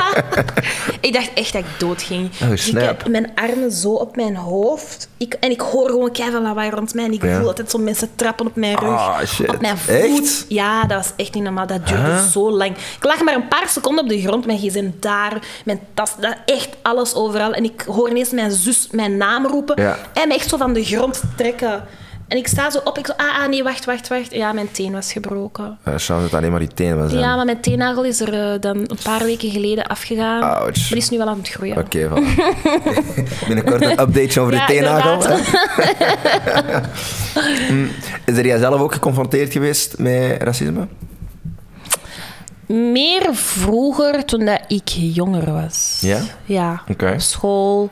[SPEAKER 2] Ik dacht echt dat ik doodging.
[SPEAKER 1] Oh,
[SPEAKER 2] Dus ik
[SPEAKER 1] snap.
[SPEAKER 2] heb mijn armen zo op mijn hoofd. Ik, en ik hoor gewoon keihard lawaai rond mij. En ik
[SPEAKER 1] Ja.
[SPEAKER 2] voel altijd zo mensen trappen op mijn rug.
[SPEAKER 1] Ah, shit.
[SPEAKER 2] Op mijn voet.
[SPEAKER 1] Echt?
[SPEAKER 2] Ja, dat was echt niet normaal. Dat duurde
[SPEAKER 1] Huh?
[SPEAKER 2] zo lang. Ik lag maar een paar seconden op de grond. Mijn gsm daar, mijn tas, daar, echt alles overal. En ik hoor ineens mijn zus mijn naam roepen.
[SPEAKER 1] Ja.
[SPEAKER 2] En me echt zo van de grond trekken. En ik sta zo op. Ik zo, ah, ah, nee, wacht, wacht, wacht. Ja, mijn teen was gebroken.
[SPEAKER 1] Uh, Chance dat het alleen maar die tenen was. hè?
[SPEAKER 2] Ja, maar mijn teennagel is er eh, dan een paar weken geleden afgegaan.
[SPEAKER 1] Ouch.
[SPEAKER 2] Maar die is nu wel aan het groeien.
[SPEAKER 1] Oké, voilà. Binnenkort een update over
[SPEAKER 2] Ja,
[SPEAKER 1] de teennagel.
[SPEAKER 2] inderdaad.
[SPEAKER 1] Mm, Is er jij zelf ook geconfronteerd geweest met racisme?
[SPEAKER 2] Meer vroeger, toen dat ik jonger was.
[SPEAKER 1] Ja?
[SPEAKER 2] Ja.
[SPEAKER 1] Oké.
[SPEAKER 2] School.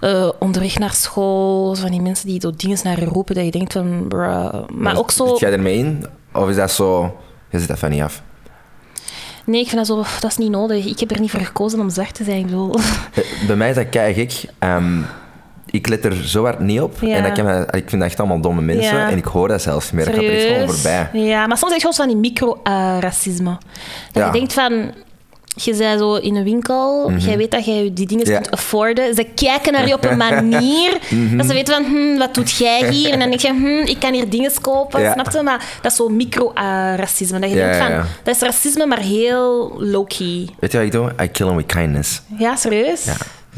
[SPEAKER 2] eh, onderweg naar school. Van die mensen die door dingen naar je roepen dat je denkt van... bruh. Maar, ook zo...
[SPEAKER 1] Zit jij ermee in? Of is dat zo... Je zit dat van niet af.
[SPEAKER 2] Nee, ik vind dat zo... "Pff, Dat is niet nodig. Ik heb er niet voor gekozen om zwart te zijn. Ik bedoel...
[SPEAKER 1] Eh, Bij mij is dat kei gek. Ehm, ik let er zo hard niet op.
[SPEAKER 2] Ja.
[SPEAKER 1] En dat kan mij- ik vind dat echt allemaal domme mensen.
[SPEAKER 2] Ja.
[SPEAKER 1] En ik hoor dat zelfs niet meer. Dat gaat er echt gewoon
[SPEAKER 2] Serieus?
[SPEAKER 1] voorbij.
[SPEAKER 2] Ja, maar soms is het gewoon van die micro-racisme. dat
[SPEAKER 1] Ja. Mhm.
[SPEAKER 2] je denkt van... Je bent zo in een winkel, jij weet dat jij die dingen
[SPEAKER 1] Ja.
[SPEAKER 2] kunt afforden. Ze kijken naar je op een manier
[SPEAKER 1] Mhm.
[SPEAKER 2] dat ze weten van, hm, wat doet jij hier? En dan denk je, hm, ik kan hier dingen kopen,
[SPEAKER 1] Ja.
[SPEAKER 2] snap je? Maar dat is zo micro-racisme. dat je
[SPEAKER 1] Ja,
[SPEAKER 2] denkt
[SPEAKER 1] ja,
[SPEAKER 2] van,
[SPEAKER 1] ja.
[SPEAKER 2] dat is racisme, maar heel low-key.
[SPEAKER 1] Weet je wat ik doe? I kill them with kindness.
[SPEAKER 2] Ja, serieus?
[SPEAKER 1] Ja.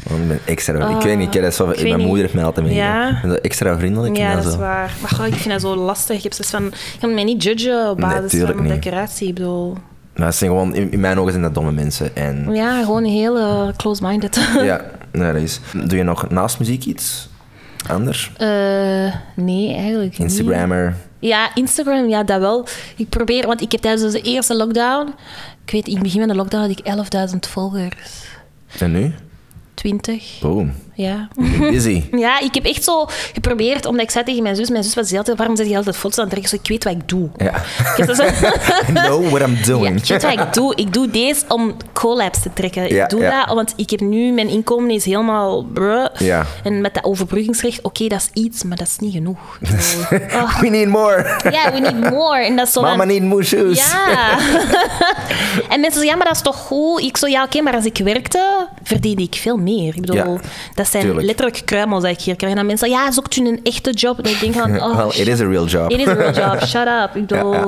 [SPEAKER 1] Want ik ben extra... ik weet niet, ik heb dat zo,
[SPEAKER 2] Oh, ik weet
[SPEAKER 1] mijn
[SPEAKER 2] niet.
[SPEAKER 1] moeder heeft mij altijd mee.
[SPEAKER 2] Ja.
[SPEAKER 1] Ik ben zo extra vriendelijk.
[SPEAKER 2] Ja,
[SPEAKER 1] en
[SPEAKER 2] dat
[SPEAKER 1] zo.
[SPEAKER 2] is waar. Maar goh, ik vind dat zo lastig. Ik heb zoiets van, je kan mij niet judgen op
[SPEAKER 1] Nee,
[SPEAKER 2] basis
[SPEAKER 1] tuurlijk
[SPEAKER 2] van mijn
[SPEAKER 1] niet.
[SPEAKER 2] decoratie. Ik bedoel...
[SPEAKER 1] Maar dat zijn gewoon, in, in mijn ogen zijn dat domme mensen. En
[SPEAKER 2] Ja, gewoon heel eh, close-minded.
[SPEAKER 1] ja, nee, dat is. Doe je nog naast muziek iets anders?
[SPEAKER 2] Eh, nee, eigenlijk niet.
[SPEAKER 1] Instagrammer.
[SPEAKER 2] Ja, Instagram, ja, dat wel. Ik probeer, want ik heb tijdens de eerste lockdown... Ik weet, in het begin van de lockdown had ik 11.000 volgers.
[SPEAKER 1] En nu?
[SPEAKER 2] 20.
[SPEAKER 1] Boom.
[SPEAKER 2] Ja.
[SPEAKER 1] Busy.
[SPEAKER 2] ja, ik heb echt zo geprobeerd, omdat ik zei tegen mijn zus, mijn zus was heel tijd, waarom zit je altijd foto's aan het trekken? Ik, zo, ik weet wat ik doe.
[SPEAKER 1] Ja.
[SPEAKER 2] Ik heb dat zo-
[SPEAKER 1] I know what I'm
[SPEAKER 2] Ja,
[SPEAKER 1] doing.
[SPEAKER 2] ik weet wat ik doe? Ik doe deze om collabs te trekken.
[SPEAKER 1] Ja,
[SPEAKER 2] ik doe
[SPEAKER 1] ja.
[SPEAKER 2] dat, want ik heb nu, mijn inkomen is helemaal bruh.
[SPEAKER 1] Ja.
[SPEAKER 2] En met dat overbruggingsrecht, oké, dat is iets, maar dat is niet genoeg. Oh.
[SPEAKER 1] We need more.
[SPEAKER 2] Ja, we need more. En dat is zo
[SPEAKER 1] Mama
[SPEAKER 2] van-
[SPEAKER 1] need more shoes.
[SPEAKER 2] Ja. en mensen zeggen, ja, maar dat is toch goed? Ik zo, ja, oké, maar als ik werkte, verdiende ik veel meer. Ik bedoil,
[SPEAKER 1] Ja,
[SPEAKER 2] dat zijn
[SPEAKER 1] tuurlijk.
[SPEAKER 2] letterlijk kruimels dat ik hier krijg. En dan mensen, ja, zoekt u een echte job? En ik denk van, oh,
[SPEAKER 1] Well, it is a real job.
[SPEAKER 2] It is a real job, shut up. Ik bedoel...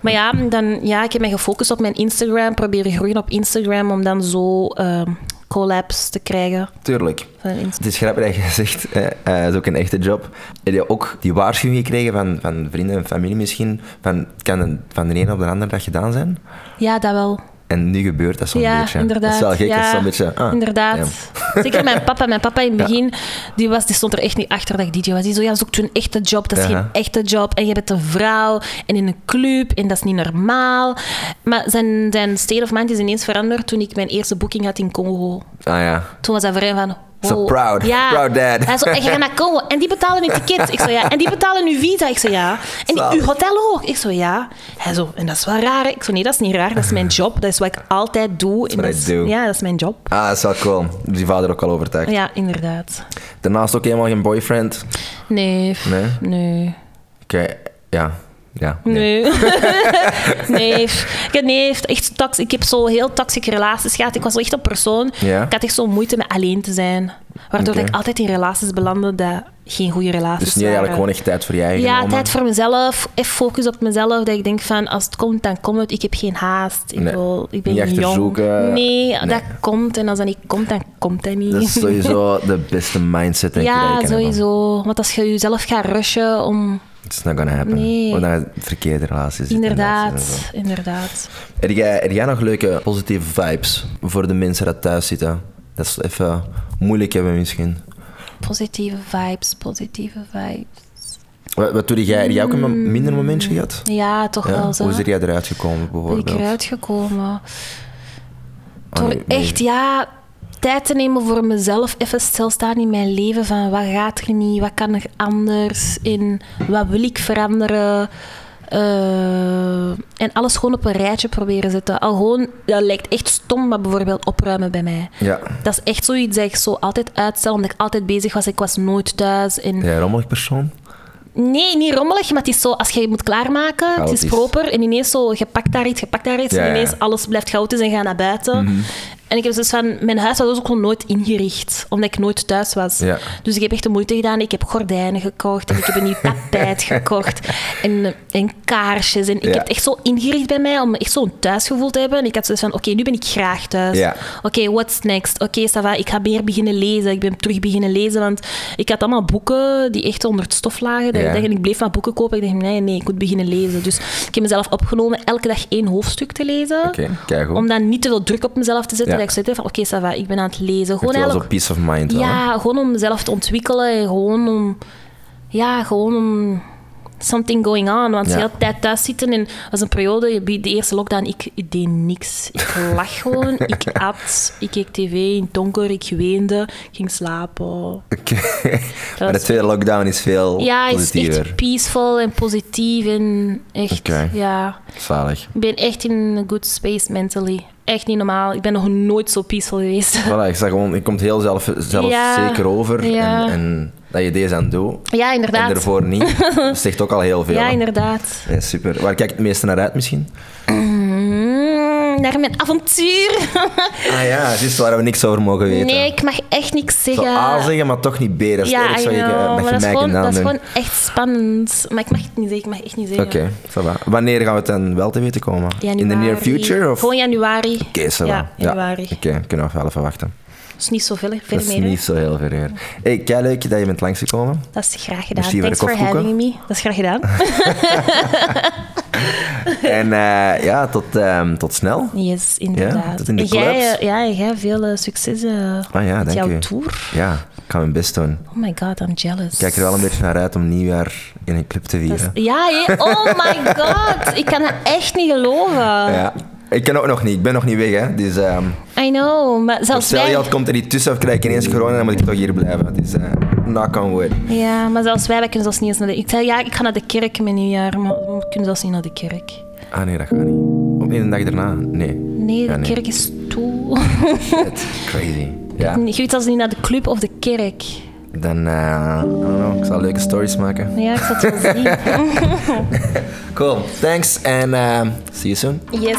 [SPEAKER 1] Ja, ja.
[SPEAKER 2] Maar ja, dan, ja, ik heb mij gefocust op mijn Instagram, proberen groeien op Instagram, om dan zo ehm collabs te krijgen.
[SPEAKER 1] Tuurlijk.
[SPEAKER 2] Van Insta-
[SPEAKER 1] Het is grappig dat je zegt, hè, eh, het is ook een echte job. Heb je ook die waarschuwing gekregen van, van vrienden en familie misschien? Van, het kan een- van de ene op de andere dag gedaan zijn?
[SPEAKER 2] Ja, dat wel.
[SPEAKER 1] En nu gebeurt dat zo'n
[SPEAKER 2] ja,
[SPEAKER 1] beetje.
[SPEAKER 2] inderdaad.
[SPEAKER 1] Dat is wel gek,
[SPEAKER 2] ja,
[SPEAKER 1] dat is zo'n beetje... ah,
[SPEAKER 2] inderdaad. Zeker mijn papa. Mijn papa in het begin, die, was, die stond er echt niet achter dat ik DJ was. Die zo, ja, zoek je een echte job. Dat is
[SPEAKER 1] Ja.
[SPEAKER 2] geen echte job. En je bent een vrouw en in een club en dat is niet normaal. Maar zijn, zijn state of mind is ineens veranderd toen ik mijn eerste boeking had in Congo.
[SPEAKER 1] ja. Ah ja.
[SPEAKER 2] Toen was dat voor hem van...
[SPEAKER 1] So
[SPEAKER 2] wow.
[SPEAKER 1] proud.
[SPEAKER 2] Ja.
[SPEAKER 1] Proud dad.
[SPEAKER 2] Hij zo, en je gaat naar Congo en die betalen uw ticket. Ik zo, ja. En die betalen uw visa. Ik zo, ja. En die-
[SPEAKER 1] Zalig.
[SPEAKER 2] uw hotel ook. Ik zo, ja. Hij zo, en dat is wel raar. hè? Ik zo, nee, dat is niet raar. Dat is mijn job. Dat is wat ik altijd doe. En
[SPEAKER 1] what
[SPEAKER 2] Dat
[SPEAKER 1] I
[SPEAKER 2] is,
[SPEAKER 1] do.
[SPEAKER 2] ja, dat is mijn job.
[SPEAKER 1] Ah, dat is wel cool. Die vader ook al overtuigd.
[SPEAKER 2] Ja, inderdaad.
[SPEAKER 1] Daarnaast ook helemaal geen boyfriend.
[SPEAKER 2] Nee. pff,
[SPEAKER 1] Nee?
[SPEAKER 2] Nee.
[SPEAKER 1] Oké, ja. Ja.
[SPEAKER 2] Nee. nee. pff. Ik heb- nee, pff, echt tox, ik heb zo heel toxische relaties gehad. Ik was wel echt een persoon.
[SPEAKER 1] Ja.
[SPEAKER 2] Ik had echt zo'n moeite met alleen te zijn. Waardoor
[SPEAKER 1] Oké.
[SPEAKER 2] ik altijd in relaties belandde dat geen goede relaties
[SPEAKER 1] Dus nu eigenlijk
[SPEAKER 2] waren.
[SPEAKER 1] gewoon echt tijd voor je eigen
[SPEAKER 2] Ja,
[SPEAKER 1] allemaal.
[SPEAKER 2] tijd voor mezelf. Even focus op mezelf. Dat ik denk van, als het komt, dan komt het. Ik heb geen haast. Ik,
[SPEAKER 1] Nee.
[SPEAKER 2] wil, ik ben
[SPEAKER 1] Niet
[SPEAKER 2] niet jong.
[SPEAKER 1] achterzoeken.
[SPEAKER 2] Nee,
[SPEAKER 1] Nee.
[SPEAKER 2] dat komt. En als dat niet komt, dan komt dat niet.
[SPEAKER 1] Dat is sowieso de beste mindset, denk ik, dat
[SPEAKER 2] ja,
[SPEAKER 1] je kan hebben.
[SPEAKER 2] sowieso. Want als je jezelf gaat rushen om...
[SPEAKER 1] It's not gonna happen.
[SPEAKER 2] Nee.
[SPEAKER 1] Of dat je verkeerde relaties zit en dat soort dingen.
[SPEAKER 2] Inderdaad, inderdaad.
[SPEAKER 1] Heb jij, heb jij nog leuke positieve vibes voor de mensen dat thuis zitten? Dat is even moeilijk hebben misschien.
[SPEAKER 2] Positieve vibes, positieve vibes.
[SPEAKER 1] Wat, wat doe jij? Heb jij ook een mom- minder momentje gehad?
[SPEAKER 2] Ja, Mm. toch
[SPEAKER 1] Ja?
[SPEAKER 2] wel zo.
[SPEAKER 1] Hoe is er jij eruit gekomen
[SPEAKER 2] ben ik
[SPEAKER 1] bijvoorbeeld?
[SPEAKER 2] eruit gekomen.
[SPEAKER 1] Ah,
[SPEAKER 2] Door
[SPEAKER 1] nee, nee.
[SPEAKER 2] echt, ja, tijd te nemen voor mezelf. Even stilstaan in mijn leven. Van wat gaat er niet? Wat kan er anders? In wat wil ik veranderen? Eh, en alles gewoon op een rijtje proberen zetten. Al gewoon, dat lijkt echt stom, maar bijvoorbeeld opruimen bij mij.
[SPEAKER 1] Ja.
[SPEAKER 2] Dat is echt zoiets dat ik zo altijd uitstel, omdat ik altijd bezig was. Ik was nooit thuis. En
[SPEAKER 1] Jij een rommelig persoon?
[SPEAKER 2] Nee, niet rommelig, maar het is zo, als je je moet klaarmaken, het
[SPEAKER 1] Chaotisch.
[SPEAKER 2] is proper. En ineens zo, je pakt daar iets, je pakt daar iets.
[SPEAKER 1] Ja, Mhm. ja.
[SPEAKER 2] en ineens alles blijft chaotisch en gaat naar buiten. En ik heb dus van, mijn huis was ook gewoon nooit ingericht, omdat ik nooit thuis was.
[SPEAKER 1] Ja.
[SPEAKER 2] Dus ik heb echt de moeite gedaan. Ik heb gordijnen gekocht en ik heb een nieuw tapijt gekocht. En, en kaarsjes. En ik
[SPEAKER 1] Ja.
[SPEAKER 2] heb het echt zo ingericht bij mij om echt zo'n thuisgevoel te hebben. En ik had zoiets van, oké, nu ben ik graag thuis.
[SPEAKER 1] Ja.
[SPEAKER 2] Oké, what's next? Oké, Sava, ik ga meer beginnen lezen. Ik ben terug beginnen lezen, want ik had allemaal boeken die echt onder het stof lagen. Dat
[SPEAKER 1] Ja.
[SPEAKER 2] ik, dacht, en ik bleef maar boeken kopen. Ik dacht, nee, nee, ik moet beginnen lezen. Dus ik heb mezelf opgenomen elke dag één hoofdstuk te lezen.
[SPEAKER 1] Oké, keigoed.
[SPEAKER 2] Om dan niet te veel druk op mezelf te zetten.
[SPEAKER 1] Ja.
[SPEAKER 2] Dat ik zoiets heb van, oké, Sava, ik ben aan het lezen. Gewoon
[SPEAKER 1] Gewoon wel zo'n
[SPEAKER 2] eigenlijk...
[SPEAKER 1] peace of mind wel, hè?
[SPEAKER 2] Ja, gewoon om mezelf te ontwikkelen. En gewoon om... Ja, gewoon om... Something going on, want
[SPEAKER 1] Ja.
[SPEAKER 2] heel de tijd thuis zitten. En dat was een periode, bij de eerste lockdown, ik, ik deed niks. Ik lag gewoon, ik at, ik keek tv in het donker, ik weende, ik ging slapen.
[SPEAKER 1] Oké. maar de
[SPEAKER 2] was-
[SPEAKER 1] tweede lockdown is veel
[SPEAKER 2] Ja, het is
[SPEAKER 1] positiever.
[SPEAKER 2] echt peaceful en positief en echt,
[SPEAKER 1] Oké.
[SPEAKER 2] ja.
[SPEAKER 1] Zalig.
[SPEAKER 2] Ik ben echt in een good space mentally. Echt niet normaal. Ik ben nog nooit zo peaceful geweest.
[SPEAKER 1] Voilà, ik zeg gewoon, je komt heel zelf, zelf
[SPEAKER 2] Ja.
[SPEAKER 1] zeker over.
[SPEAKER 2] Ja.
[SPEAKER 1] En, en dat je deze aan doet.
[SPEAKER 2] Ja,
[SPEAKER 1] En
[SPEAKER 2] inderdaad.
[SPEAKER 1] daarvoor niet. Dat zegt ook al heel veel.
[SPEAKER 2] Ja,
[SPEAKER 1] hè?
[SPEAKER 2] inderdaad.
[SPEAKER 1] Ja, super. Waar kijk je het meeste naar uit misschien?
[SPEAKER 2] Mm, naar mijn avontuur.
[SPEAKER 1] Ah ja, het is waar we niks over mogen weten.
[SPEAKER 2] Nee, ik mag echt niks
[SPEAKER 1] Zo
[SPEAKER 2] zeggen.
[SPEAKER 1] A zeggen, maar toch niet B. Dat is het
[SPEAKER 2] ja, I
[SPEAKER 1] ergste wat je, eh,
[SPEAKER 2] know,
[SPEAKER 1] dat je
[SPEAKER 2] maar dat is,
[SPEAKER 1] mij
[SPEAKER 2] gewoon,
[SPEAKER 1] kan
[SPEAKER 2] dat is
[SPEAKER 1] aandoen.
[SPEAKER 2] gewoon echt spannend. Maar ik mag het niet zeggen. Ik mag echt niet zeggen.
[SPEAKER 1] Oké, voilà. Wanneer gaan we het dan wel te weten komen? In the near
[SPEAKER 2] Januari.
[SPEAKER 1] future? Of?
[SPEAKER 2] Gewoon januari.
[SPEAKER 1] Oké, ça va.
[SPEAKER 2] Ja, januari.
[SPEAKER 1] Oké, kunnen we wel even wachten.
[SPEAKER 2] Dat is niet zo veel, veel
[SPEAKER 1] Dat is
[SPEAKER 2] meer. hè.
[SPEAKER 1] niet zo heel ver weer. Hey, kei leuk dat je bent langsgekomen.
[SPEAKER 2] Dat is graag gedaan.
[SPEAKER 1] Merci voor de
[SPEAKER 2] Thanks for
[SPEAKER 1] koffiekoeken.
[SPEAKER 2] having me. Dat is graag gedaan.
[SPEAKER 1] en eh, ja, tot, ehm, tot snel.
[SPEAKER 2] Yes, inderdaad.
[SPEAKER 1] Ja, tot in de
[SPEAKER 2] En jij,
[SPEAKER 1] clubs.
[SPEAKER 2] eh, ja, en jij veel eh, succes eh,
[SPEAKER 1] Ah ja,
[SPEAKER 2] met
[SPEAKER 1] dank
[SPEAKER 2] jouw
[SPEAKER 1] u.
[SPEAKER 2] tour.
[SPEAKER 1] Ja, ik ga mijn best doen.
[SPEAKER 2] Oh my god, I'm jealous.
[SPEAKER 1] Ik kijk er wel een beetje naar uit om nieuwjaar in een club te vieren.
[SPEAKER 2] Ja, hè? oh my god. Ik kan het echt niet geloven.
[SPEAKER 1] Ja, Ik ken ook nog niet, ik ben nog niet weg, hè. Dus ehm
[SPEAKER 2] I know, maar zelfs
[SPEAKER 1] stel je
[SPEAKER 2] wij...
[SPEAKER 1] al komt er niet tussen of krijg ik ineens corona, dan moet ik toch hier blijven. Dus eh knock on wood.
[SPEAKER 2] Ja, maar zelfs wij, wij kunnen zelfs niet eens naar de... Ik zei, ja, ik ga naar de kerk mijn nieuwjaar, maar we kunnen zelfs niet naar de kerk.
[SPEAKER 1] Ah nee, dat gaat niet. Op één dag daarna? Nee.
[SPEAKER 2] Nee, de
[SPEAKER 1] Ja, nee.
[SPEAKER 2] kerk is toe.
[SPEAKER 1] Shit, crazy. Ja,
[SPEAKER 2] Je weet als niet naar de club of de kerk.
[SPEAKER 1] dan, eh, I don't know, ik zal leuke stories maken.
[SPEAKER 2] Ja, ik zal het wel zien.
[SPEAKER 1] Cool, thanks and ehm, see you soon.
[SPEAKER 2] Yes.